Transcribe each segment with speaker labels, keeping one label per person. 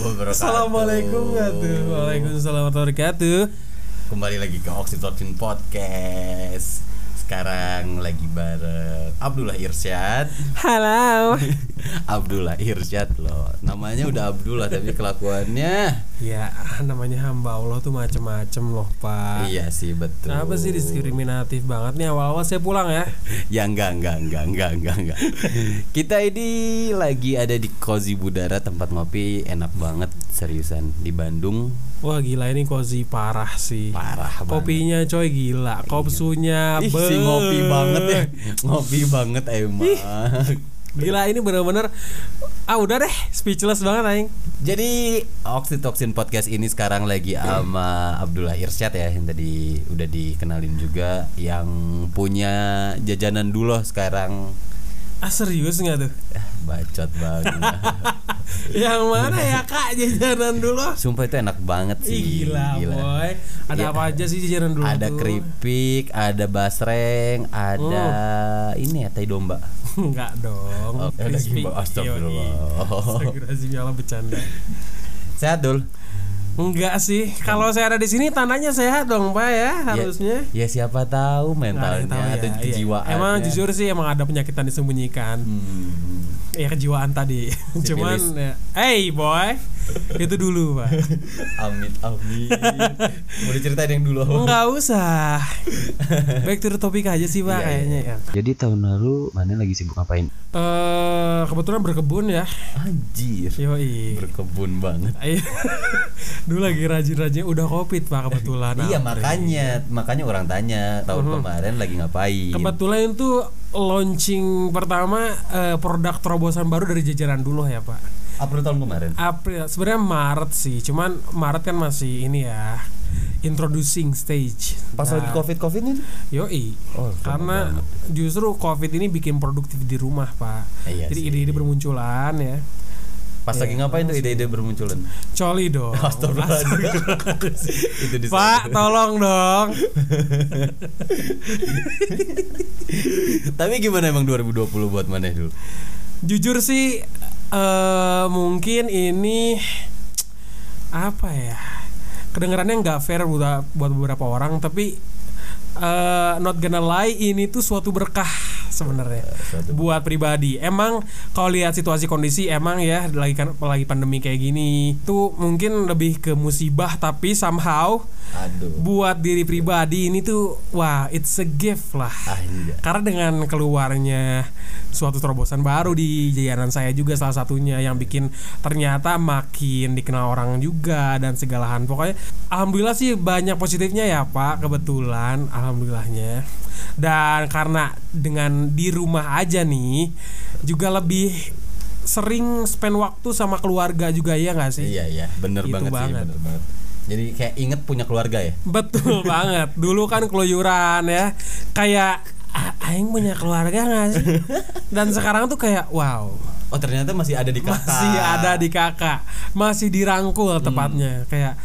Speaker 1: Assalamualaikum wabarakatuh. Waalaikumsalam warahmatullahi wabarakatuh.
Speaker 2: Kembali lagi ke Oxy Talking Podcast. Sekarang lagi bareng Abdullah Irsyad.
Speaker 1: Halo.
Speaker 2: Abdullah Irsyad loh. Namanya udah Abdullah tapi kelakuannya
Speaker 1: ya, namanya hamba Allah tuh macem-macem loh, Pak.
Speaker 2: iya sih betul.
Speaker 1: Kenapa Ah. sih diskriminatif banget nih awal-awal saya pulang ya?
Speaker 2: Ya enggak enggak enggak enggak enggak enggak. Kita ini lagi ada di Kozi Budara tempat ngopi enak banget seriusan di Bandung
Speaker 1: Wah gila ini kozi parah sih.
Speaker 2: parah banget.
Speaker 1: Kopinya coy gila, kopsunya
Speaker 2: Ih,
Speaker 1: be-
Speaker 2: si ngopi banget ya ngopi banget emang
Speaker 1: Gila ini bener-bener ah udah deh speechless banget aing.
Speaker 2: jadi Oxytocin Podcast ini sekarang lagi sama Abdullah Irsyad ya yang tadi udah dikenalin juga yang punya jajanan dulu sekarang
Speaker 1: Ah serius nggak tuh?
Speaker 2: Eh, bacot banget
Speaker 1: Yang mana ya kak jajanan dulu?
Speaker 2: sumpah itu enak banget
Speaker 1: Ih,
Speaker 2: sih
Speaker 1: gila, boy. Ada
Speaker 2: Iya.
Speaker 1: apa aja sih jajanan dulu?
Speaker 2: ada
Speaker 1: tuh?
Speaker 2: keripik ada basreng ada
Speaker 1: Oh.
Speaker 2: ini ya tai domba
Speaker 1: Enggak dong.
Speaker 2: Oh, ya udah
Speaker 1: crispy.
Speaker 2: gimbal. Astagfirullah.
Speaker 1: Yoi. Astagfirullahaladzim, ya Allah bercanda.
Speaker 2: sehat dul
Speaker 1: Enggak sih. Kalau saya ada di sini tanahnya sehat dong, Pak ya, harusnya.
Speaker 2: Ya siapa tahu
Speaker 1: Nggak ada yang
Speaker 2: mentalnya
Speaker 1: tahu
Speaker 2: atau
Speaker 1: ya, iya.
Speaker 2: kejiwaan.
Speaker 1: Emang jujur sih emang ada penyakitan disembunyikan.
Speaker 2: Hmm.
Speaker 1: Ya kejiwaan tadi. Cuman ya, hey boy, itu dulu, Pak.
Speaker 2: Amit amit. Mau diceritain yang dulu.
Speaker 1: Enggak usah. Back to the topic aja sih,
Speaker 2: Iya, iya,
Speaker 1: Pak, kayaknya ya.
Speaker 2: Jadi tahun lalu mana lagi sibuk ngapain?
Speaker 1: Eh, kebetulan berkebun ya.
Speaker 2: Anjir.
Speaker 1: Yoi.
Speaker 2: Berkebun banget.
Speaker 1: Iya. Dulu lagi rajin-rajin udah covid pak kebetulan.
Speaker 2: iya
Speaker 1: April.
Speaker 2: makanya makanya orang tanya tahun kemarin lagi ngapain.
Speaker 1: Kebetulan itu launching pertama eh, produk terobosan baru dari jajaran dulu ya pak.
Speaker 2: April tahun kemarin.
Speaker 1: April sebenarnya Maret sih, cuman Maret kan masih ini ya introducing stage.
Speaker 2: Pas
Speaker 1: Nah,
Speaker 2: lagi covid covid ini.
Speaker 1: Yoi.
Speaker 2: Oh, sama
Speaker 1: Karena justru covid ini bikin produktif di rumah pak.
Speaker 2: Iya
Speaker 1: Jadi
Speaker 2: sih.
Speaker 1: ide-ide bermunculan ya.
Speaker 2: Pas lagi ngapain tuh ide-ide bermunculan? Oh,
Speaker 1: Coli dong.
Speaker 2: Itu di
Speaker 1: Pak, tolong dong.
Speaker 2: Tapi gimana emang 2020 buat mana dulu?
Speaker 1: Jujur sih eh mungkin ini apa ya? Kedengarannya nggak fair buat buat beberapa orang tapi eh not gonna lie ini tuh suatu berkah sebenarnya
Speaker 2: suatu
Speaker 1: buat pribadi. Emang kalau lihat situasi kondisi emang ya lagi kan lagi pandemi kayak gini tuh mungkin lebih ke musibah tapi somehow
Speaker 2: Aduh.
Speaker 1: buat diri pribadi ini tuh wah it's a gift lah.
Speaker 2: Anjir.
Speaker 1: Karena dengan keluarnya suatu terobosan baru di jajanan saya juga salah satunya yang bikin ternyata makin dikenal orang juga dan segala hal. Pokoknya alhamdulillah sih banyak positifnya ya Pak kebetulan alhamdulillahnya. Dan karena dengan di rumah aja nih juga lebih sering spend waktu sama keluarga juga ya nggak sih?
Speaker 2: Iya iya, bener
Speaker 1: Itu
Speaker 2: banget, sih,
Speaker 1: banget.
Speaker 2: bener banget. Jadi kayak inget punya keluarga ya.
Speaker 1: Betul banget. Dulu kan keluyuran ya. Kayak "A- aing punya keluarga gak sih? Dan sekarang tuh kayak wow.
Speaker 2: Oh ternyata masih ada di Hmm. kakak.
Speaker 1: Masih ada di kakak. Masih dirangkul tepatnya. Kayak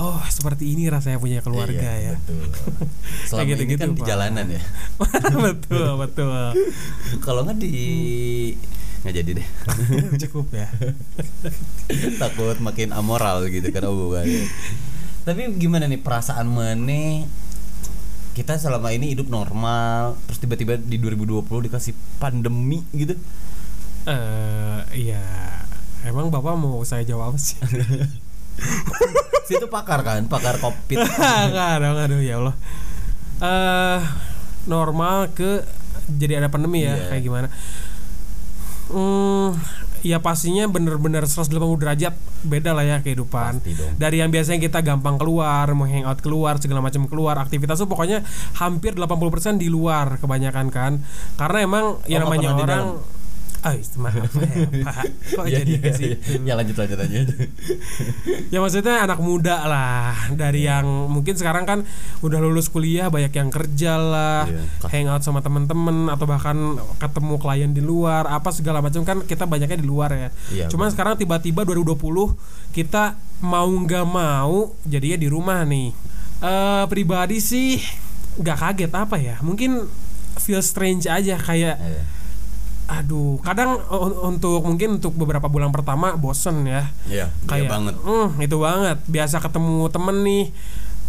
Speaker 1: oh, seperti ini rasanya punya keluarga
Speaker 2: Iya,
Speaker 1: ya.
Speaker 2: Betul. Selama ini
Speaker 1: gitu-gitu,
Speaker 2: kan di
Speaker 1: Pak.
Speaker 2: jalanan ya.
Speaker 1: betul, betul.
Speaker 2: Kalau nggak di
Speaker 1: Hmm.
Speaker 2: nggak jadi deh.
Speaker 1: Cukup ya.
Speaker 2: Takut makin amoral gitu kan hubungannya. Tapi gimana nih perasaan Mane kita selama ini hidup normal terus tiba-tiba di 2020 dikasih pandemi gitu.
Speaker 1: Eh, iya. Emang Bapak mau saya jawab apa sih?
Speaker 2: Situ pakar kan, pakar Covid.
Speaker 1: Enggak dong, aduh ya Allah. Eh normal ke jadi ada pandemi ya
Speaker 2: Iya.
Speaker 1: kayak gimana? Hmm, ya pastinya bener-bener 180 derajat beda lah ya kehidupan.
Speaker 2: Pasti dong.
Speaker 1: Dari yang biasanya kita gampang keluar, mau hangout keluar, segala macam keluar, aktivitas tuh pokoknya hampir 80% di luar kebanyakan kan. Karena emang yang
Speaker 2: Oh, nggak
Speaker 1: namanya
Speaker 2: pernah di
Speaker 1: orang
Speaker 2: dalam.
Speaker 1: Ah, maaf ya, Pak. Kok
Speaker 2: Iya,
Speaker 1: jadi
Speaker 2: iya,
Speaker 1: ke
Speaker 2: iya.
Speaker 1: situ?
Speaker 2: Ya lanjut lanjut aja.
Speaker 1: Ya maksudnya anak muda lah dari
Speaker 2: Iya.
Speaker 1: yang mungkin sekarang kan udah lulus kuliah banyak yang kerja lah,
Speaker 2: Iya.
Speaker 1: hangout sama temen-temen atau bahkan ketemu klien di luar apa segala macam kan kita banyaknya di luar ya.
Speaker 2: Iya,
Speaker 1: Cuman sekarang tiba-tiba 2020 kita mau nggak mau jadinya di rumah nih. Eh pribadi sih nggak kaget apa ya? Mungkin feel strange aja kayak
Speaker 2: Iya.
Speaker 1: aduh kadang un- untuk mungkin untuk beberapa bulan pertama bosen ya
Speaker 2: Iya, kayak
Speaker 1: kayak
Speaker 2: banget.
Speaker 1: "Mm, itu banget biasa ketemu temen nih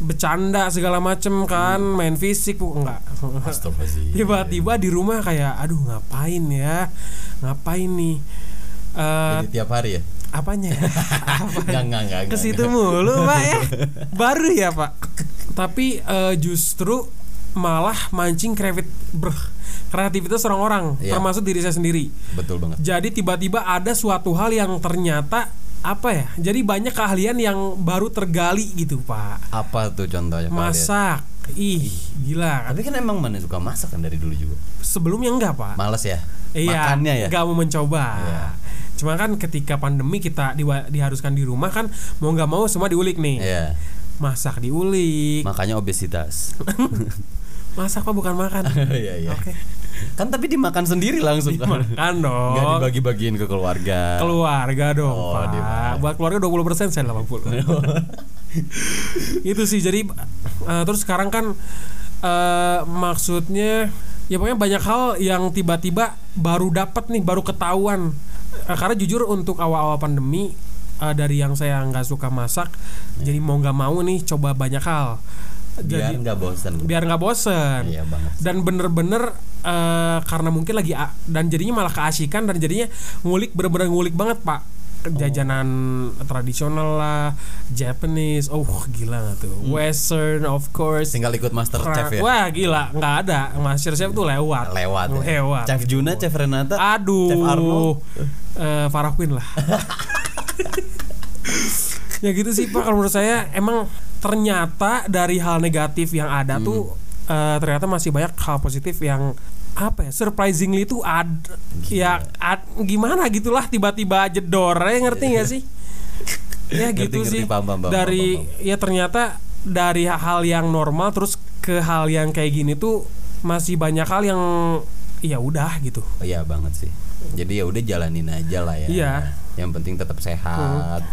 Speaker 1: bercanda segala macem kan
Speaker 2: Hmm.
Speaker 1: main fisik bu enggak
Speaker 2: Astagfirullahaladzim.
Speaker 1: tiba-tiba di rumah kayak aduh ngapain ya ngapain nih Eh
Speaker 2: Jadi tiap hari ya?
Speaker 1: apanya
Speaker 2: Enggak, enggak, enggak.
Speaker 1: ke situ mulu pak ya baru ya pak tapi eh, justru malah mancing krevit ber kreativitas orang-orang
Speaker 2: Iya.
Speaker 1: termasuk diri saya sendiri
Speaker 2: Betul banget.
Speaker 1: jadi tiba-tiba ada suatu hal yang ternyata apa ya jadi banyak keahlian yang baru tergali gitu pak
Speaker 2: Apa tuh contohnya? kalau lihat?
Speaker 1: masak ih gila
Speaker 2: Tapi kan emang mana suka masak kan dari dulu juga.
Speaker 1: sebelumnya enggak pak
Speaker 2: Males ya?
Speaker 1: Iya,
Speaker 2: Makannya ya?
Speaker 1: nggak mau mencoba.
Speaker 2: Iya.
Speaker 1: Cuma kan ketika pandemi kita diwa- diharuskan di rumah kan mau nggak mau semua diulik nih.
Speaker 2: Iya.
Speaker 1: Masak diulik.
Speaker 2: Makanya obesitas.
Speaker 1: Masak kok bukan makan.
Speaker 2: Iya, iya.
Speaker 1: Oke.
Speaker 2: Kan tapi dimakan sendiri langsung kan. Enggak
Speaker 1: Makan dong.
Speaker 2: dibagi-bagiin ke keluarga.
Speaker 1: Keluarga dong,
Speaker 2: Oh,
Speaker 1: Pak.
Speaker 2: dimakan.
Speaker 1: Buat keluarga 20% saya 80. Itu Gitu sih jadi eh, terus sekarang kan eh, maksudnya ya pokoknya banyak hal yang tiba-tiba baru dapat nih, baru ketahuan. Eh, karena jujur untuk awal-awal pandemi eh, dari yang saya nggak suka masak, jadi mau nggak mau nih coba banyak hal.
Speaker 2: Biar
Speaker 1: Jadi
Speaker 2: enggak bosan.
Speaker 1: biar nggak bosen.
Speaker 2: Iya banget.
Speaker 1: dan bener-bener eh, karena mungkin lagi a- dan jadinya malah keasikan dan jadinya ngulik bener-bener ngulik banget pak jajanan
Speaker 2: Oh.
Speaker 1: tradisional lah Japanese oh gila gak tuh Western of course
Speaker 2: Tinggal ikut master
Speaker 1: Fra-
Speaker 2: Hmm. chef ya.
Speaker 1: wah gila nggak ada Master Chef tuh lewat
Speaker 2: Lewat. ya.
Speaker 1: Lewat,
Speaker 2: Chef
Speaker 1: gitu.
Speaker 2: Juna, Chef Renata. Chef Arnold.
Speaker 1: aduh eh Farah Quinn lah ya gitu sih pak kalau menurut saya emang ternyata dari hal negatif yang ada
Speaker 2: Hmm.
Speaker 1: tuh eh, ternyata masih banyak hal positif yang apa ya surprisingly itu ad ya ad- gimana gitulah tiba-tiba jedor ya ngerti nggak sih ya
Speaker 2: Ngerti,
Speaker 1: gitu
Speaker 2: ngerti,
Speaker 1: sih
Speaker 2: paham, paham, paham,
Speaker 1: dari
Speaker 2: paham,
Speaker 1: ya ternyata dari hal yang normal terus ke hal yang kayak gini tuh masih banyak hal yang ya udah gitu
Speaker 2: Oh, Iya banget sih. Jadi ya udah jalanin aja lah ya.
Speaker 1: Iya.
Speaker 2: Yang penting tetap sehat.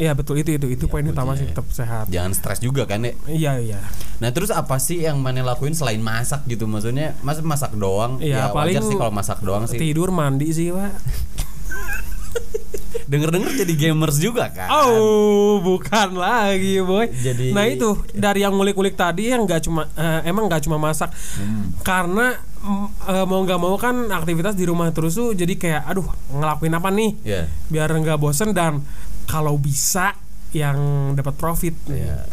Speaker 1: Iya betul itu itu itu
Speaker 2: Iya,
Speaker 1: poin utama
Speaker 2: kuncinya
Speaker 1: sih
Speaker 2: ya.
Speaker 1: tetap sehat.
Speaker 2: Jangan stres juga kan ya.
Speaker 1: Iya iya.
Speaker 2: Nah terus apa sih yang mana lakuin selain masak gitu maksudnya mas masak doang Ya,
Speaker 1: Iya, paling
Speaker 2: wajar sih kalau masak doang sih
Speaker 1: Tidur mandi sih pak.
Speaker 2: denger denger jadi gamers juga kan
Speaker 1: Oh bukan lagi boy.
Speaker 2: Jadi- ya.
Speaker 1: Nah itu dari yang ngulik-ngulik tadi yang nggak cuma eh, emang nggak cuma masak
Speaker 2: Hmm.
Speaker 1: karena mm, eh, mau nggak mau kan aktivitas di rumah terus tuh jadi kayak aduh ngelakuin apa nih
Speaker 2: ya
Speaker 1: biar nggak bosen dan kalau bisa yang dapat profit.
Speaker 2: ya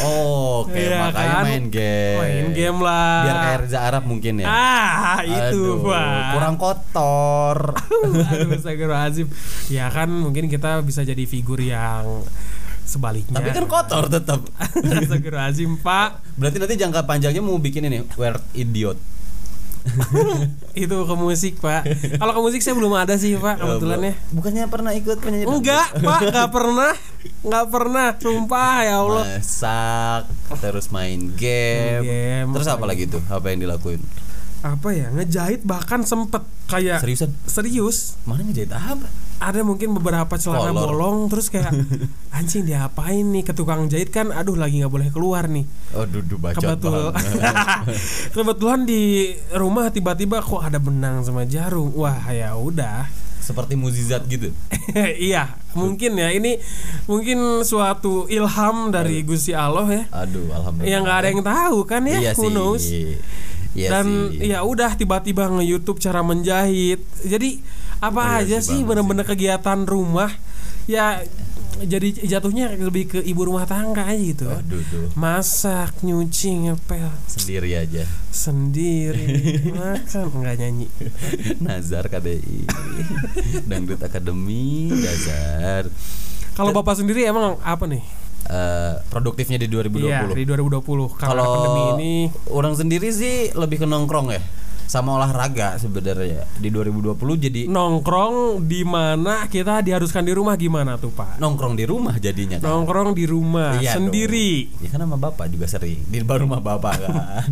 Speaker 2: oh, oke
Speaker 1: Iya,
Speaker 2: makanya
Speaker 1: kan?
Speaker 2: main game
Speaker 1: Main game lah.
Speaker 2: Eh, biar kayak Reza Arab mungkin ya
Speaker 1: Ah itu
Speaker 2: Aduh,
Speaker 1: pak.
Speaker 2: kurang kotor
Speaker 1: Aduh, Astagfirullahaladzim Ya kan mungkin kita bisa jadi figur yang sebaliknya
Speaker 2: tapi kan kotor tetap
Speaker 1: Astagfirullahaladzim pak
Speaker 2: berarti nanti jangka panjangnya mau bikin ini weird idiot
Speaker 1: Itu ke musik pak Kalau ke musik saya belum ada sih pak kebetulan ya
Speaker 2: Eh, bukannya pernah ikut penyanyi dangdut?
Speaker 1: Enggak ya pak, enggak pernah Enggak pernah, sumpah ya Allah
Speaker 2: masak terus main game,
Speaker 1: Game.
Speaker 2: terus apa lagi tuh apa yang dilakuin
Speaker 1: Apa ya, ngejahit bahkan sempet Kayak
Speaker 2: seriusan
Speaker 1: serius
Speaker 2: mana ngejahit apa
Speaker 1: ada mungkin beberapa celana
Speaker 2: Kolor.
Speaker 1: bolong terus kayak anjing diapain nih ke tukang jahit kan aduh lagi nggak boleh keluar nih
Speaker 2: oh duduk baca
Speaker 1: kebetulan kebetulan di rumah tiba-tiba kok ada benang sama jarum wah ya udah
Speaker 2: seperti muzizat gitu
Speaker 1: iya mungkin ya ini mungkin suatu ilham dari
Speaker 2: Iya.
Speaker 1: Gusti Allah ya
Speaker 2: aduh alhamdulillah
Speaker 1: yang nggak ada yang tahu kan ya
Speaker 2: iya
Speaker 1: who
Speaker 2: sih
Speaker 1: knows
Speaker 2: Iya
Speaker 1: dan
Speaker 2: sih.
Speaker 1: ya udah tiba-tiba nge-youtube cara menjahit jadi
Speaker 2: Iya
Speaker 1: apa aja
Speaker 2: sih,
Speaker 1: sih
Speaker 2: banget
Speaker 1: bener-bener kegiatan rumah ya jadi jatuhnya lebih ke ibu rumah tangga aja gitu
Speaker 2: aduh tuh
Speaker 1: masak nyuci ngepel
Speaker 2: sendiri aja
Speaker 1: sendiri makan nggak nyanyi
Speaker 2: Nazar KDI Dangdut Akademi Nazar
Speaker 1: kalau bapak sendiri emang apa nih
Speaker 2: Eh, produktifnya di 2020
Speaker 1: Iya, di 2020 karena
Speaker 2: Kalau-
Speaker 1: pandemi ini
Speaker 2: orang sendiri sih lebih ke nongkrong ya sama olahraga sebenarnya di 2020 jadi
Speaker 1: nongkrong di mana kita diharuskan di rumah gimana tuh pak
Speaker 2: nongkrong di rumah jadinya kan?
Speaker 1: nongkrong di
Speaker 2: Iya
Speaker 1: rumah
Speaker 2: dong.
Speaker 1: Ah, sendiri
Speaker 2: ya kan sama bapak juga sering di baru rumah bapak kan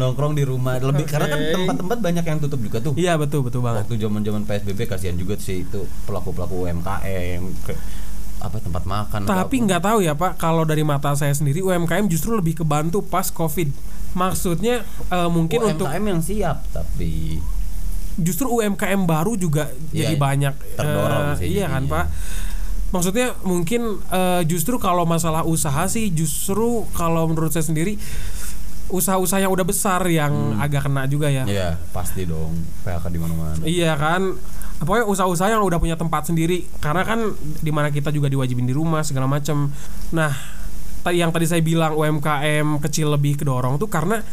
Speaker 2: nongkrong di rumah lebih karena kan tempat-tempat banyak yang tutup juga tuh
Speaker 1: iya betul betul banget
Speaker 2: waktu zaman zaman psbb kasihan juga sih itu pelaku pelaku umkm ke, apa tempat makan atau
Speaker 1: tapi
Speaker 2: apa.
Speaker 1: nggak tahu ya pak kalau dari mata saya sendiri UMKM justru lebih kebantu pas covid maksudnya eh, mungkin
Speaker 2: UMKM
Speaker 1: untuk
Speaker 2: yang siap tapi
Speaker 1: justru UMKM baru juga
Speaker 2: Iya,
Speaker 1: jadi banyak
Speaker 2: terdorong
Speaker 1: eh,
Speaker 2: sih
Speaker 1: iya kan
Speaker 2: jadinya.
Speaker 1: pak maksudnya mungkin eh, justru kalau masalah usaha sih justru kalau menurut saya sendiri usaha-usaha yang udah besar yang
Speaker 2: Hmm.
Speaker 1: agak kena juga ya
Speaker 2: Iya, pasti dong. PHK di mana-mana.
Speaker 1: Iya kan Pokoknya usaha-usaha yang udah punya tempat sendiri Karena kan dimana kita juga diwajibin di rumah segala macam Nah tadi yang tadi saya bilang UMKM kecil lebih kedorong tuh karena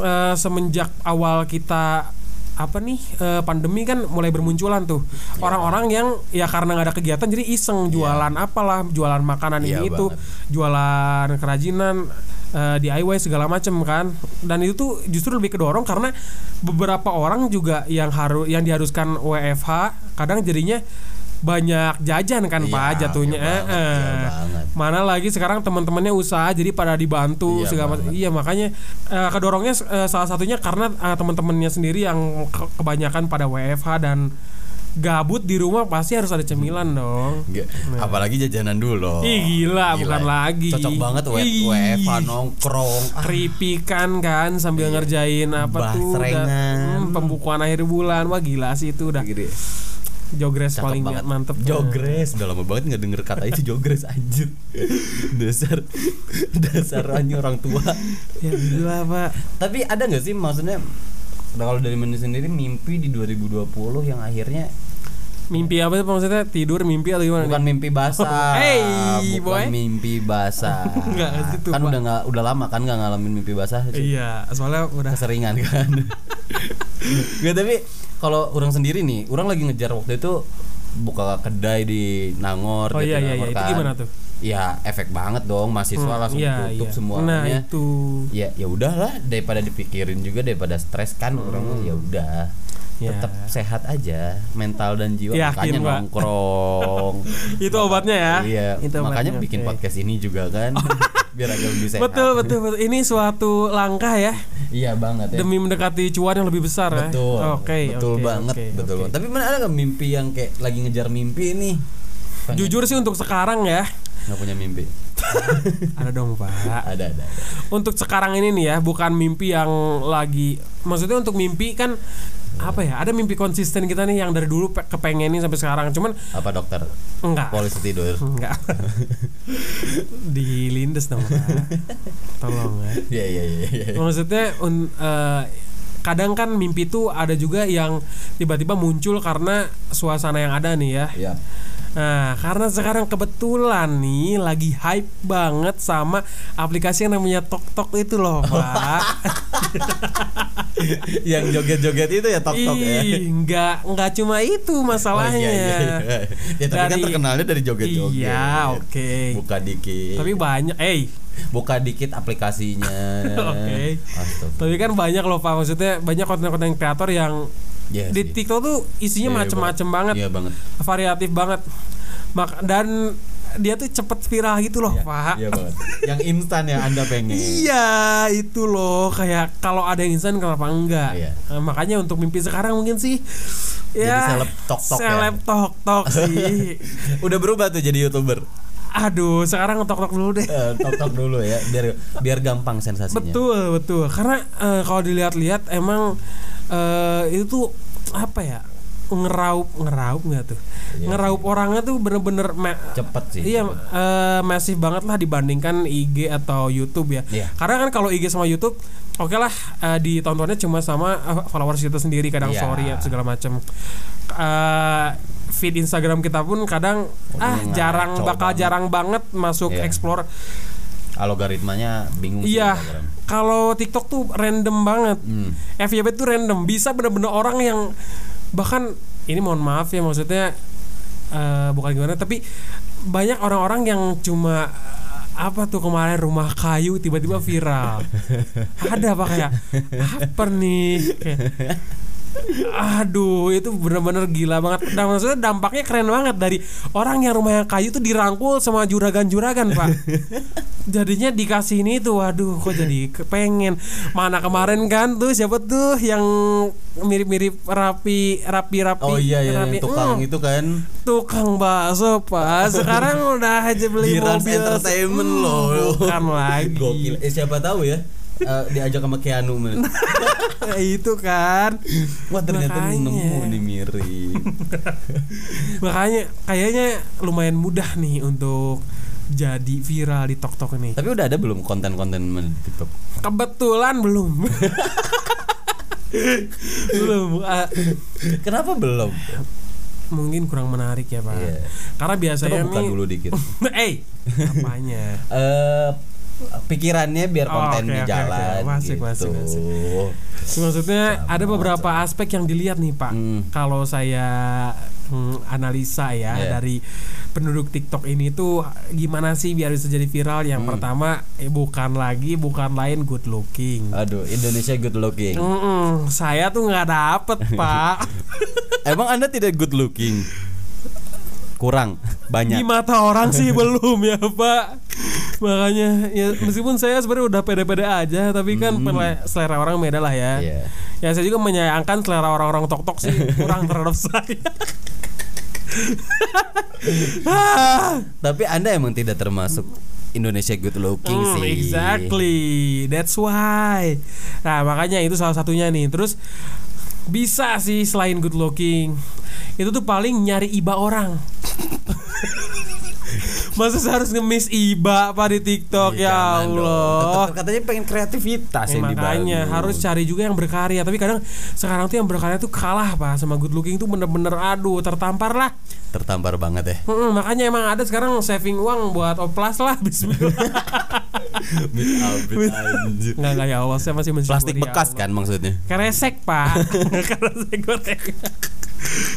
Speaker 1: eh, semenjak awal kita apa nih eh, pandemi kan mulai bermunculan tuh orang-orang yang ya karena nggak ada kegiatan jadi iseng jualan apalah jualan makanan
Speaker 2: Iya
Speaker 1: ini itu jualan kerajinan eh, DIY segala macem kan dan itu tuh justru lebih kedorong karena beberapa orang juga yang harus yang diharuskan WFH kadang jadinya banyak jajan kan
Speaker 2: Iya,
Speaker 1: pak jatuhnya
Speaker 2: iya banget,
Speaker 1: Eh,
Speaker 2: iya
Speaker 1: eh.
Speaker 2: banget.
Speaker 1: mana lagi sekarang teman-temannya usaha jadi pada dibantu
Speaker 2: Iya
Speaker 1: segala macam
Speaker 2: banget.
Speaker 1: iya makanya eh, kedorongnya eh, salah satunya karena eh, teman-temannya sendiri yang ke- kebanyakan pada WFH dan gabut di rumah pasti harus ada
Speaker 2: Hmm.
Speaker 1: cemilan dong
Speaker 2: Nggak, Apalagi jajanan dulu.
Speaker 1: Ih, gila, bukan
Speaker 2: ya.
Speaker 1: lagi.
Speaker 2: Cocok banget we-
Speaker 1: Ih.
Speaker 2: WFH E nongkrong. Ah,
Speaker 1: Keripikan kan
Speaker 2: Iya.
Speaker 1: sambil ngerjain apa tuh
Speaker 2: Basrengan.
Speaker 1: udah, hmm, pembukuan akhir bulan wah gila sih itu udah
Speaker 2: gede.
Speaker 1: jogres
Speaker 2: Gitu. Cakep
Speaker 1: paling
Speaker 2: banget.
Speaker 1: mantep
Speaker 2: Jogres Udah lama banget nggak denger kata itu jogres anjir Dasar Dasarannya orang tua
Speaker 1: ya gila pak
Speaker 2: Tapi ada nggak sih maksudnya nah, Kalau dari menu sendiri mimpi di 2020 yang akhirnya
Speaker 1: mimpi apa sih maksudnya tidur mimpi atau gimana
Speaker 2: Bukan
Speaker 1: nih?
Speaker 2: mimpi basah
Speaker 1: Hey,
Speaker 2: Bukan
Speaker 1: boy.
Speaker 2: mimpi basah
Speaker 1: Nggak gitu,
Speaker 2: Kan
Speaker 1: Pak.
Speaker 2: udah nggak udah lama kan nggak ngalamin mimpi basah
Speaker 1: iya soalnya udah
Speaker 2: keseringan kan Gak tapi kalau orang sendiri nih orang lagi ngejar waktu itu buka kedai di Nangor
Speaker 1: oh
Speaker 2: gitu,
Speaker 1: iya iya iya
Speaker 2: Nangor
Speaker 1: itu
Speaker 2: kan.
Speaker 1: gimana tuh
Speaker 2: ya efek banget dong mahasiswa
Speaker 1: Hmm,
Speaker 2: langsung
Speaker 1: iya,
Speaker 2: tutup
Speaker 1: iya.
Speaker 2: semuanya
Speaker 1: nah itu
Speaker 2: ya ya udahlah daripada dipikirin juga daripada stres kan orang ya udah
Speaker 1: Hmm. Ya.
Speaker 2: tetap sehat aja mental dan jiwa
Speaker 1: Yakin,
Speaker 2: makanya
Speaker 1: Pak.
Speaker 2: nongkrong
Speaker 1: Itu obatnya ya?
Speaker 2: iya
Speaker 1: Itu
Speaker 2: makanya
Speaker 1: obatnya,
Speaker 2: bikin
Speaker 1: oke. Oh.
Speaker 2: podcast ini juga kan biar agak lebih sehat
Speaker 1: betul betul betul ini suatu langkah ya
Speaker 2: iya banget ya
Speaker 1: demi mendekati cuan yang lebih besar ya.
Speaker 2: Betul.
Speaker 1: oke
Speaker 2: betul
Speaker 1: oke,
Speaker 2: banget,
Speaker 1: oke,
Speaker 2: betul.
Speaker 1: oke.
Speaker 2: banget. Tapi mana ada nggak mimpi yang kayak lagi ngejar mimpi nih? Pengen-
Speaker 1: jujur sih untuk sekarang ya
Speaker 2: nggak punya mimpi.
Speaker 1: ada dong pak
Speaker 2: Ada, ada. ada.
Speaker 1: untuk sekarang ini nih ya bukan mimpi yang lagi maksudnya untuk mimpi kan apa ya ada mimpi konsisten kita nih yang dari dulu pe- kepengenin sampai sekarang cuman
Speaker 2: Apa dokter?
Speaker 1: enggak
Speaker 2: Polisi tidur.
Speaker 1: enggak dilindes dong Pak. tolong ya
Speaker 2: Iya, iya, iya. iya.
Speaker 1: maksudnya un- eh, kadang kan mimpi tuh ada juga yang tiba-tiba muncul karena suasana yang ada nih ya
Speaker 2: Iya.
Speaker 1: Nah, karena sekarang kebetulan nih lagi hype banget sama aplikasi yang namanya TokTok itu loh, Pak.
Speaker 2: yang joget-joget itu ya tok tok ya.
Speaker 1: Ih, Iya, nggak nggak cuma itu
Speaker 2: Oh,
Speaker 1: masalahnya.
Speaker 2: iya, iya, iya. Ya, tapi kan
Speaker 1: Dari-
Speaker 2: terkenalnya dari joget-joget.
Speaker 1: Iya, oke.
Speaker 2: Buka dikit.
Speaker 1: Tapi banyak, eh,
Speaker 2: buka dikit aplikasinya.
Speaker 1: Oke.
Speaker 2: Astagfirullah.
Speaker 1: tapi kan banyak loh Pak. Maksudnya banyak konten-konten kreator yang
Speaker 2: Iya
Speaker 1: di
Speaker 2: sih.
Speaker 1: TikTok tuh
Speaker 2: Iya,
Speaker 1: isinya macem-macem banget,
Speaker 2: Iya banget.
Speaker 1: variatif banget. Mak dan dia tuh cepet viral gitu loh, Pak.
Speaker 2: Iya banget. Yang instan yang Anda pengen.
Speaker 1: Iya itu loh kayak kalau ada yang instan kenapa enggak
Speaker 2: Iya.
Speaker 1: Nah, makanya untuk mimpi sekarang mungkin sih
Speaker 2: Jadi
Speaker 1: ya
Speaker 2: seleb tok-tok ya.
Speaker 1: seleb tok-tok sih
Speaker 2: Udah berubah tuh jadi YouTuber.
Speaker 1: aduh sekarang tok-tok dulu deh
Speaker 2: Eh, tok-tok dulu ya biar biar gampang sensasinya.
Speaker 1: betul betul karena eh, kalau dilihat-lihat emang eh, itu tuh apa ya ngeraup ngeraup nggak tuh
Speaker 2: Iya
Speaker 1: ngeraup orangnya tuh bener-bener me-
Speaker 2: Cepet sih.
Speaker 1: Iya, eh, masif banget lah dibandingkan IG atau YouTube ya.
Speaker 2: Iya.
Speaker 1: Karena kan kalau IG sama YouTube, oke lah eh, ditontonnya cuma sama eh, followers kita sendiri kadang
Speaker 2: Iya.
Speaker 1: story ya segala macam. Eh, feed Instagram kita pun kadang ah
Speaker 2: ngaco
Speaker 1: jarang bakal
Speaker 2: banget.
Speaker 1: jarang banget masuk
Speaker 2: Iya.
Speaker 1: explore.
Speaker 2: Algoritmanya bingung sih
Speaker 1: Iya.
Speaker 2: Instagram.
Speaker 1: Kalau TikTok tuh random banget.
Speaker 2: Hmm.
Speaker 1: FYP tuh random bisa bener-bener orang yang bahkan ini mohon maaf ya maksudnya eh, bukan gimana tapi banyak orang-orang yang cuma eh, apa tuh kemarin rumah kayu tiba-tiba viral ada apa kayak apa nih Kayak, aduh itu bener-bener gila banget dan maksudnya dampaknya keren banget dari orang yang rumah yang kayu tuh dirangkul sama juragan-juragan pak jadinya dikasih ini tuh waduh kok jadi kepengen mana kemarin kan tuh siapa tuh yang mirip-mirip rapi rapi rapi
Speaker 2: Oh iya ya yang tukang
Speaker 1: Hmm,
Speaker 2: itu kan
Speaker 1: tukang bakso pak sekarang udah aja beli
Speaker 2: Dirans
Speaker 1: mobil hmm,
Speaker 2: Entertainment loh.
Speaker 1: bukan lagi
Speaker 2: Gokil. Eh siapa tahu ya eh, diajak sama Keanu men.
Speaker 1: itu kan
Speaker 2: Wah ternyata
Speaker 1: Makanya.
Speaker 2: nemu nih mirip.
Speaker 1: makanya kayaknya lumayan mudah nih untuk jadi viral di TokTok ini
Speaker 2: Tapi udah ada belum konten-konten men di TikTok?
Speaker 1: kebetulan belum belum ah,
Speaker 2: Kenapa belum?
Speaker 1: mungkin kurang menarik ya pak
Speaker 2: Iya.
Speaker 1: karena
Speaker 2: Coba
Speaker 1: biasanya
Speaker 2: buka
Speaker 1: nih
Speaker 2: dulu dikit.
Speaker 1: eh apanya
Speaker 2: Eh pikirannya biar
Speaker 1: Oh,
Speaker 2: kontennya
Speaker 1: oke, oke,
Speaker 2: jalan
Speaker 1: oke. Masuk,
Speaker 2: gitu.
Speaker 1: masuk, masuk. Maksudnya ada beberapa aspek yang dilihat nih Pak.
Speaker 2: Hmm.
Speaker 1: Kalau saya hmm, analisa ya
Speaker 2: Yeah.
Speaker 1: dari penduduk TikTok ini tuh gimana sih biar bisa jadi viral? Yang
Speaker 2: Hmm.
Speaker 1: pertama eh, bukan lagi bukan lain good looking.
Speaker 2: Aduh, Indonesia good looking.
Speaker 1: Mm-mm, saya tuh nggak dapet Pak
Speaker 2: Emang Anda tidak good looking? Kurang,
Speaker 1: di
Speaker 2: banyak.
Speaker 1: mata orang sih belum ya Pak. Makanya ya meskipun saya sebenarnya udah pede-pede aja tapi kan pele- selera orang beda lah ya.
Speaker 2: Iya.
Speaker 1: Ya saya juga menyayangkan selera orang-orang tok-tok sih kurang terhadap saya. Ah,
Speaker 2: Tapi Anda emang tidak termasuk Indonesia good looking
Speaker 1: hmm,
Speaker 2: sih.
Speaker 1: exactly. That's why. Nah, makanya itu salah satunya nih. Terus bisa sih selain good looking. Itu tuh paling nyari iba orang. Masa saya harus ngemis iba Pak di TikTok
Speaker 2: Iya,
Speaker 1: ya
Speaker 2: jangan dong.
Speaker 1: Allah.
Speaker 2: Tetep katanya pengen kreativitas
Speaker 1: Ya,
Speaker 2: yang
Speaker 1: makanya
Speaker 2: dibangun.
Speaker 1: harus cari juga yang berkarya tapi kadang sekarang tuh yang berkarya tuh kalah pak sama good looking tuh bener-bener aduh tertampar lah
Speaker 2: tertampar banget ya.
Speaker 1: Mm-mm, makanya emang ada sekarang saving uang buat oplas lah Bismillah
Speaker 2: Bit abit, anjir.
Speaker 1: nggak nggak ya Allah saya masih mensyukuri
Speaker 2: Plastik
Speaker 1: ya
Speaker 2: bekas
Speaker 1: Allah.
Speaker 2: kan maksudnya.
Speaker 1: keresek pak keresek goreng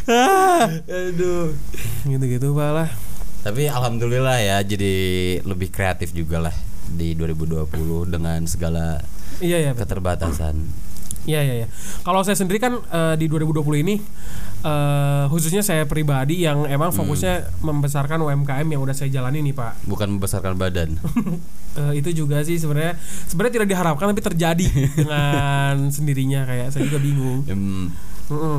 Speaker 1: Ah,
Speaker 2: Aduh.
Speaker 1: gitu-gitu pak lah
Speaker 2: Tapi alhamdulillah ya jadi lebih kreatif juga lah di 2020 dengan segala
Speaker 1: iya ya
Speaker 2: keterbatasan.
Speaker 1: Iya iya iya. Kalau saya sendiri kan eh, di 2020 ini eh, khususnya saya pribadi yang emang fokusnya membesarkan UMKM yang udah saya jalani nih Pak.
Speaker 2: Bukan membesarkan badan.
Speaker 1: Eh, itu juga sih sebenarnya sebenarnya tidak diharapkan tapi terjadi dengan sendirinya kayak saya juga bingung.
Speaker 2: Em,
Speaker 1: Mm-mm.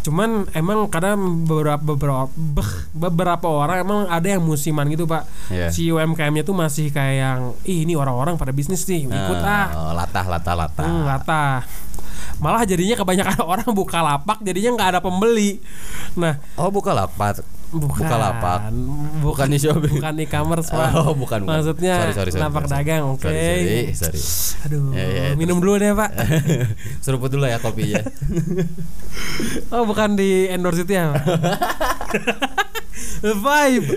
Speaker 1: Cuman emang kadang beberapa beberapa beh, beberapa orang emang ada yang musiman gitu Pak.
Speaker 2: Iya.
Speaker 1: Si UMKM-nya tuh masih kayak yang ih ini orang-orang pada bisnis nih ikut
Speaker 2: eh,
Speaker 1: ah.
Speaker 2: latah latah latah.
Speaker 1: Hmm, latah. Malah jadinya kebanyakan orang buka lapak jadinya nggak ada pembeli. Nah,
Speaker 2: Oh buka lapak.
Speaker 1: bukan
Speaker 2: Buka lapak.
Speaker 1: Bukan
Speaker 2: Bukan di Shopee.
Speaker 1: bukan e-commerce, Pak.
Speaker 2: Oh, bukan, bukan.
Speaker 1: Maksudnya
Speaker 2: Sorry, sorry, sorry,
Speaker 1: lapak
Speaker 2: sorry.
Speaker 1: dagang, oke.
Speaker 2: Sorry, sorry, sorry.
Speaker 1: Aduh,
Speaker 2: Ya, ya,
Speaker 1: minum dulu deh, Pak.
Speaker 2: Seruput dulu ya kopinya.
Speaker 1: Oh, bukan di endorse itu ya, Pak. Vibe.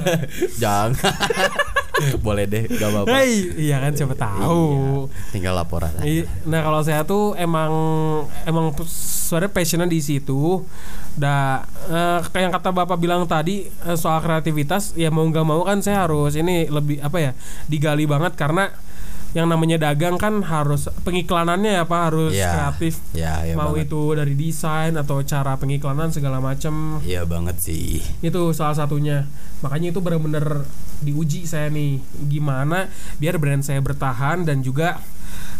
Speaker 2: Jangan. Boleh deh, gak apa-apa.
Speaker 1: Hey, iya kan siapa tahu.
Speaker 2: Iya, tinggal laporan. aja.
Speaker 1: I- Nah kalau saya tuh emang emang sebenarnya passionnya di situ. Da, eh, kayak yang kata bapak bilang tadi eh, soal kreativitas, ya mau nggak mau kan saya harus ini lebih apa ya digali banget karena yang namanya dagang kan harus pengiklanannya ya pak harus
Speaker 2: Iya,
Speaker 1: kreatif.
Speaker 2: Iya, iya
Speaker 1: mau
Speaker 2: banget.
Speaker 1: itu dari desain atau cara pengiklanan segala macem
Speaker 2: Iya banget sih.
Speaker 1: itu salah satunya makanya itu benar-benar diuji saya nih gimana biar brand saya bertahan dan juga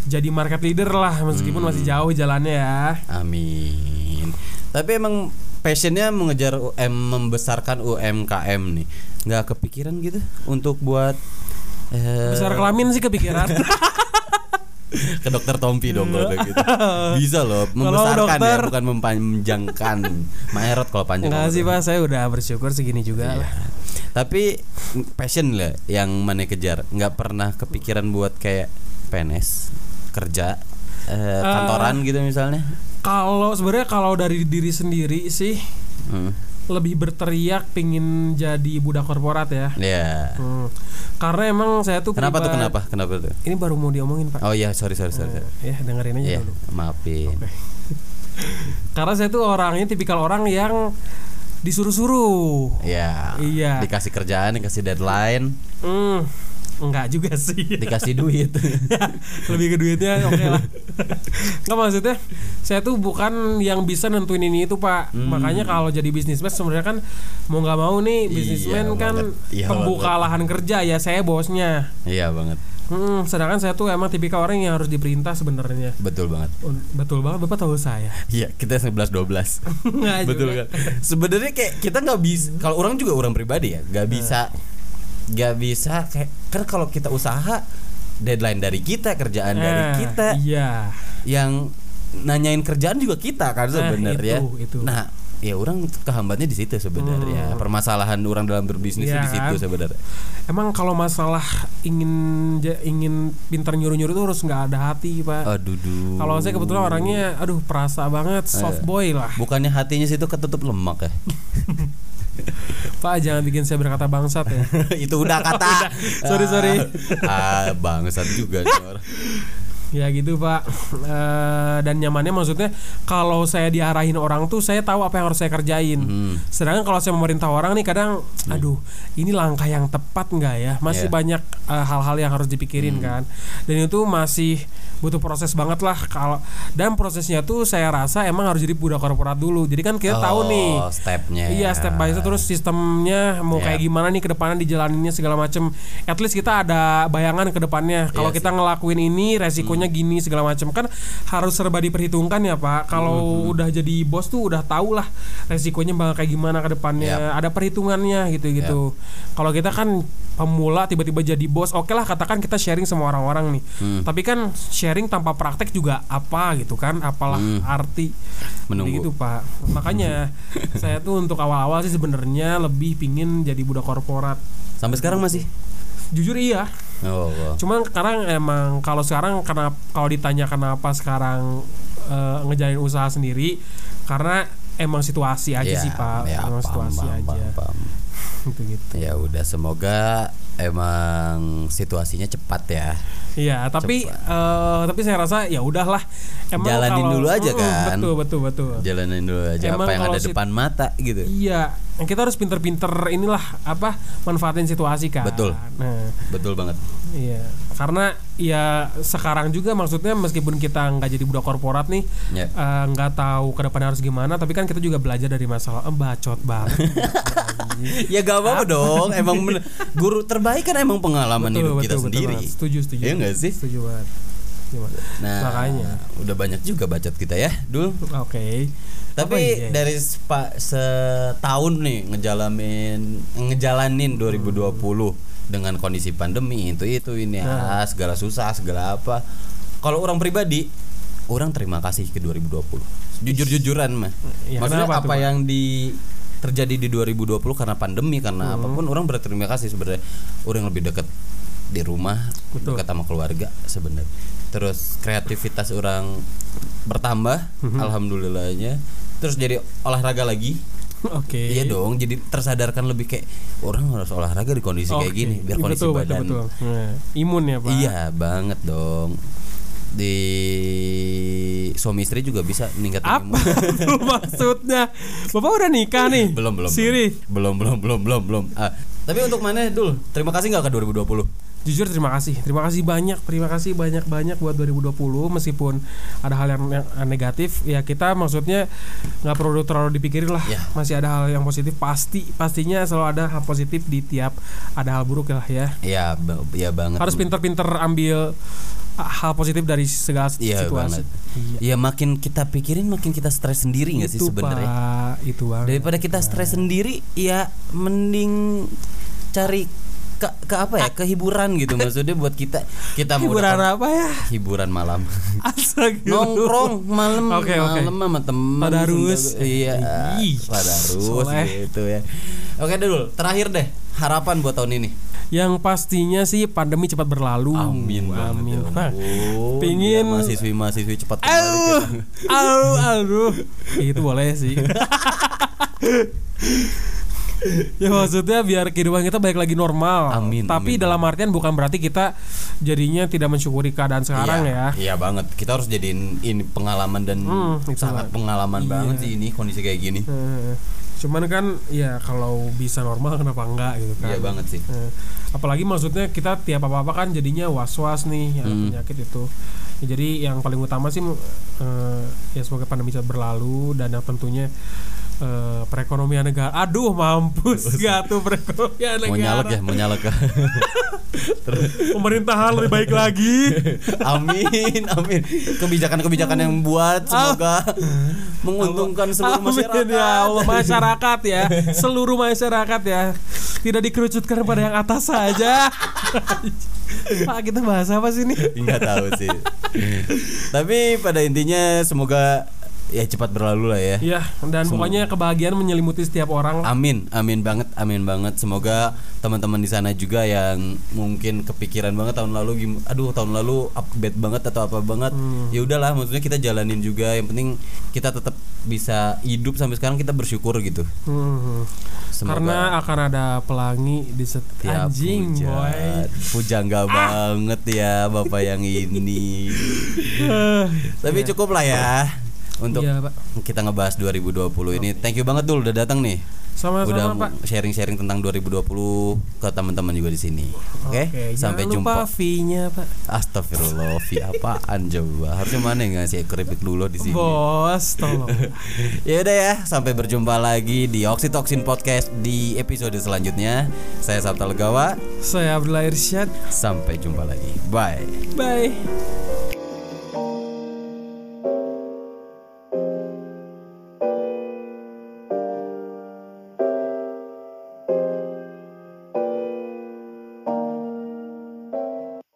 Speaker 1: jadi market leader lah meskipun masih
Speaker 2: Hmm.
Speaker 1: jauh jalannya ya
Speaker 2: Amin. Tapi emang passionnya mengejar UM membesarkan UMKM nih. Nggak kepikiran gitu untuk buat eh,
Speaker 1: besar kelamin sih kepikiran
Speaker 2: ke dokter Tompi dong kalau kayak gitu. Bisa loh membesarkan ya,
Speaker 1: dokter.
Speaker 2: bukan memanjangkan. Maerot kalau panjang.
Speaker 1: nggak sih pak saya udah bersyukur segini
Speaker 2: Iya.
Speaker 1: juga lah
Speaker 2: Tapi passion lah yang mana kejar. Nggak pernah kepikiran buat kayak PNS kerja eh,
Speaker 1: Ah.
Speaker 2: kantoran gitu misalnya.
Speaker 1: kalau sebenarnya kalau dari diri sendiri sih
Speaker 2: Hmm.
Speaker 1: lebih berteriak pingin jadi budak korporat ya
Speaker 2: Ya.
Speaker 1: Hmm. karena emang saya tuh
Speaker 2: Kenapa tuh
Speaker 1: pribadi-
Speaker 2: kenapa? Kenapa tuh?
Speaker 1: ini baru mau diomongin pak
Speaker 2: Oh iya, sorry sorry sorry. sorry.
Speaker 1: ya dengerin aja
Speaker 2: Iya,
Speaker 1: dulu
Speaker 2: maafin.
Speaker 1: Karena saya tuh orangnya tipikal orang yang disuruh-suruh.
Speaker 2: Iya.
Speaker 1: Iya.
Speaker 2: Dikasih kerjaan, dikasih deadline,
Speaker 1: Hmm, enggak juga sih.
Speaker 2: dikasih duit.
Speaker 1: Lebih ke duitnya oke lah. Enggak maksudnya saya tuh bukan yang bisa nentuin ini itu, Pak. Makanya kalau jadi bisnismen sebenarnya kan mau nggak mau nih bisnismen
Speaker 2: Hmm. Iya
Speaker 1: kan
Speaker 2: banget. Iya
Speaker 1: pembuka
Speaker 2: banget.
Speaker 1: lahan kerja ya saya bosnya.
Speaker 2: Iya banget.
Speaker 1: Hmm, sedangkan saya tuh emang tipikal orang yang harus diperintah sebenarnya.
Speaker 2: Betul banget.
Speaker 1: Oh, Betul banget Bapak tahu saya.
Speaker 2: Iya, kita 11 12.
Speaker 1: Nggak
Speaker 2: Betul
Speaker 1: juga.
Speaker 2: kan? Sebenarnya kayak kita nggak bisa kalau orang
Speaker 1: Iya.
Speaker 2: juga orang pribadi ya, nggak bisa nggak bisa kayak kan kalau kita usaha deadline dari kita kerjaan dari
Speaker 1: Nah,
Speaker 2: kita
Speaker 1: Iya.
Speaker 2: yang nanyain kerjaan juga kita kan
Speaker 1: Nah,
Speaker 2: sebenarnya.
Speaker 1: itu, itu.
Speaker 2: Nah, ya orang kehambatnya di situ sebenarnya. Permasalahan orang dalam berbisnis
Speaker 1: Iya
Speaker 2: di situ
Speaker 1: kan?
Speaker 2: sebenarnya.
Speaker 1: Emang kalau masalah ingin ja- ingin pintar nyuruh-nyuruh itu harus nggak ada hati, Pak.
Speaker 2: Aduh, duh.
Speaker 1: Ah, Kalau saya kebetulan orangnya aduh perasa banget, soft boy lah.
Speaker 2: bukannya hatinya situ ketutup lemak ya?
Speaker 1: Pak, jangan bikin saya berkata bangsat ya.
Speaker 2: itu udah kata.
Speaker 1: Sorry, sorry.
Speaker 2: Ah, bangsat juga nih orang.
Speaker 1: ya gitu, Pak. Eh, dan nyamannya maksudnya kalau saya diarahin orang tuh saya tahu apa yang harus saya kerjain.
Speaker 2: Hmm.
Speaker 1: Sedangkan kalau saya memerintah orang nih kadang aduh, ini langkah yang tepat nggak ya?
Speaker 2: Iya.
Speaker 1: Masih
Speaker 2: Hmm.
Speaker 1: banyak eh, hal-hal yang harus dipikirin kan. Dan itu masih butuh proses banget lah kalau dan prosesnya tuh saya rasa emang harus jadi budak korporat dulu. Jadi kan kita
Speaker 2: Oh,
Speaker 1: tahu nih
Speaker 2: stepnya.
Speaker 1: Iya step by step terus sistemnya mau
Speaker 2: Iya.
Speaker 1: kayak gimana nih ke depannya dijalaninnya segala macem At least kita ada bayangan ke depannya. Kalau
Speaker 2: Iya Hmm.
Speaker 1: kita ngelakuin ini resikonya gini segala macem kan harus serba diperhitungkan ya Pak.
Speaker 2: Hmm,
Speaker 1: Kalau udah jadi bos tuh udah tau lah resikonya bakal kayak gimana ke depannya.
Speaker 2: Iya.
Speaker 1: Ada perhitungannya gitu-gitu. Kalau kita kan pemula tiba-tiba jadi bos, oke lah katakan kita sharing sama orang-orang nih.
Speaker 2: Hmm.
Speaker 1: Tapi kan sharing tanpa praktek juga apa gitu kan? Apalah
Speaker 2: Hmm.
Speaker 1: arti
Speaker 2: Menunggu.
Speaker 1: gitu pak makanya saya tuh untuk awal-awal sih sebenarnya lebih pingin jadi budak korporat
Speaker 2: Sampai sekarang masih?
Speaker 1: jujur iya
Speaker 2: Oh, wow.
Speaker 1: cuman sekarang emang kalau sekarang karena kalau ditanya kenapa sekarang eh, ngejalin usaha sendiri karena emang situasi aja
Speaker 2: Ya,
Speaker 1: sih pak
Speaker 2: ya,
Speaker 1: emang
Speaker 2: paham,
Speaker 1: situasi
Speaker 2: paham,
Speaker 1: aja
Speaker 2: paham, paham.
Speaker 1: gitu gitu
Speaker 2: Ya udah semoga emang situasinya cepat ya.
Speaker 1: iya tapi eh, tapi saya rasa ya udahlah
Speaker 2: Jalanin dulu aja kan.
Speaker 1: betul betul betul
Speaker 2: Jalanin dulu aja
Speaker 1: Emang
Speaker 2: apa yang
Speaker 1: kalau
Speaker 2: ada
Speaker 1: sit-
Speaker 2: depan mata gitu.
Speaker 1: iya kita harus pinter-pinter inilah apa manfaatin situasi kan
Speaker 2: Betul.
Speaker 1: nah
Speaker 2: Betul banget.
Speaker 1: Iya, karena ya sekarang juga maksudnya meskipun kita nggak jadi budak korporat nih,
Speaker 2: Ya.
Speaker 1: eh, nggak tahu ke depannya harus gimana, tapi kan kita juga belajar dari masalah eh, bacot banget.
Speaker 2: Ya gak apa-apa dong. Emang bener- guru terbaik kan emang pengalaman hidup kita sendiri.
Speaker 1: banget. Setuju, setuju.
Speaker 2: Iya nggak sih?
Speaker 1: Setuju banget. Setuju banget.
Speaker 2: Nah,
Speaker 1: Makanya.
Speaker 2: udah banyak juga bacot kita ya, Dul.
Speaker 1: Oke.
Speaker 2: Tapi
Speaker 1: Apa iya?
Speaker 2: dari sepa, setahun nih ngejalanin ngejalanin 2020 dengan kondisi pandemi itu itu ini
Speaker 1: Nah.
Speaker 2: ah, segala susah segala apa. Kalau orang pribadi, orang terima kasih ke 2020. Jujur-jujuran mah.
Speaker 1: Ya,
Speaker 2: Maksudnya
Speaker 1: kenapa tuh,
Speaker 2: apa
Speaker 1: Pak?
Speaker 2: yang di terjadi di 2020 karena pandemi
Speaker 1: Hmm.
Speaker 2: karena apapun orang berterima kasih sebenarnya. Orang lebih dekat di rumah,
Speaker 1: Betul.
Speaker 2: dekat sama keluarga sebenarnya. Terus kreativitas orang bertambah,
Speaker 1: Hmm.
Speaker 2: alhamdulillahnya. Terus jadi olahraga lagi.
Speaker 1: Oke.
Speaker 2: Iya dong, jadi tersadarkan lebih kayak orang harus olahraga di kondisi kayak
Speaker 1: Oke.
Speaker 2: gini biar
Speaker 1: Iya,
Speaker 2: kondisi
Speaker 1: betul,
Speaker 2: badan.
Speaker 1: Betul, betul. Nah, imun ya pak.
Speaker 2: Iya banget dong. Di suami istri juga bisa meningkatkan
Speaker 1: Apa
Speaker 2: imun.
Speaker 1: tuh maksudnya? Bapak udah nikah nih?
Speaker 2: belum belum
Speaker 1: Siri.
Speaker 2: belum belum belum belum belum Ah, tapi untuk mana dul terima kasih nggak ke 2020
Speaker 1: Jujur terima kasih, terima kasih banyak, terima kasih banyak banyak buat 2020 meskipun ada hal yang, yang negatif ya kita maksudnya nggak perlu terlalu dipikirin lah
Speaker 2: Ya.
Speaker 1: masih ada hal yang positif pasti pastinya selalu ada hal positif di tiap ada hal buruk lah ya
Speaker 2: ya ba- ya banget
Speaker 1: harus pinter-pinter ambil ah, hal positif dari segala
Speaker 2: Iya
Speaker 1: situasi.
Speaker 2: banget.
Speaker 1: Iya.
Speaker 2: ya makin kita pikirin makin kita stres sendiri nggak sih
Speaker 1: Itu,
Speaker 2: sebenarnya
Speaker 1: Pak, itu banget.
Speaker 2: daripada kita stres sendiri ya mending cari ke, ke apa ya kehiburan gitu maksudnya buat kita kita mau
Speaker 1: Ah. hiburan
Speaker 2: dapat-
Speaker 1: apa ya? gitu.
Speaker 2: hiburan malam
Speaker 1: Astagfirullah.
Speaker 2: nongkrong malam
Speaker 1: Oke, oke.
Speaker 2: malam sama teman
Speaker 1: Tadarus.
Speaker 2: iya
Speaker 1: Ih,
Speaker 2: padarus
Speaker 1: soleh.
Speaker 2: gitu ya oke dul terakhir deh harapan buat tahun ini
Speaker 1: Yang pastinya sih pandemi cepat berlalu.
Speaker 2: banget,
Speaker 1: Amin.
Speaker 2: ya ampun.
Speaker 1: Pingin-
Speaker 2: Biar mahasiswi-mahaswi cepat kembali gitu.
Speaker 1: Aduh, aduh, aduh. Ya, itu boleh sih. ya maksudnya biar kehidupan kita balik lagi normal.
Speaker 2: Amin,
Speaker 1: Tapi
Speaker 2: amin.
Speaker 1: dalam artian bukan berarti kita jadinya tidak mensyukuri keadaan
Speaker 2: ke-
Speaker 1: sekarang
Speaker 2: iya,
Speaker 1: ya.
Speaker 2: Iya banget. Kita harus jadiin ini pengalaman dan
Speaker 1: Hmm, Iya. itu
Speaker 2: sangat pengalaman banget sih ini kondisi kayak gini.
Speaker 1: Eh, Cuman kan ya kalau bisa normal kenapa enggak gitu kan.
Speaker 2: Iya banget sih.
Speaker 1: Eh, apalagi maksudnya kita tiap apa-apa kan jadinya was-was nih yang
Speaker 2: Hmm.
Speaker 1: penyakit itu. Ya, jadi yang paling utama sih eh, ya semoga pandemi cepat berlalu dan yang tentunya eh, perekonomian negara. Aduh mampus gak tuh perekonomian
Speaker 2: mau nyalek
Speaker 1: negara.
Speaker 2: ya mau nyalek ya.
Speaker 1: Pemerintahan lebih baik lagi.
Speaker 2: amin amin kebijakan-kebijakan yang buat semoga menguntungkan seluruh
Speaker 1: Ah. Amin,
Speaker 2: masyarakat
Speaker 1: ya Allah masyarakat ya, seluruh masyarakat ya. Tidak dikerucutkan pada yang atas saja. Pak kita bahas apa sih ini?
Speaker 2: nggak tahu sih tapi pada intinya semoga ya cepat berlalu lah ya
Speaker 1: Ya, dan pokoknya kebahagiaan menyelimuti setiap orang.
Speaker 2: Amin, amin banget, amin banget. Semoga teman-teman di sana juga yang mungkin kepikiran banget tahun lalu, gim- aduh tahun lalu update banget atau apa banget,
Speaker 1: Hmm.
Speaker 2: ya udahlah. Maksudnya kita jalanin juga. Yang penting kita tetap bisa hidup sampai sekarang kita bersyukur gitu.
Speaker 1: Hmm.
Speaker 2: Semoga
Speaker 1: Karena akan ada pelangi di
Speaker 2: tiap
Speaker 1: setiap anjing,
Speaker 2: hujan.
Speaker 1: boy. Ah.
Speaker 2: Pujangga banget ya bapak yang ini.
Speaker 1: Eh,
Speaker 2: Tapi cukup lah ya untuk
Speaker 1: Iya, Pak.
Speaker 2: kita ngebahas 2020 ini. Thank you banget dulu udah datang nih. udah
Speaker 1: Sama-sama, Pak.
Speaker 2: mau sharing-sharing tentang 2020 ke teman-teman juga di sini. Oke, sampai jumpa.
Speaker 1: jangan lupa V-nya, Pak.
Speaker 2: Astagfirullah, Vi apaan coba? Harusnya mana yang ngasih keripik dulu di sini?
Speaker 1: Bos, tolong.
Speaker 2: ya udah ya, sampai berjumpa lagi di Oxytocin Podcast di episode selanjutnya. Saya Sabta Legawa,
Speaker 1: Saya Abdullah Irsyad.
Speaker 2: sampai jumpa lagi. Bye.
Speaker 1: Bye.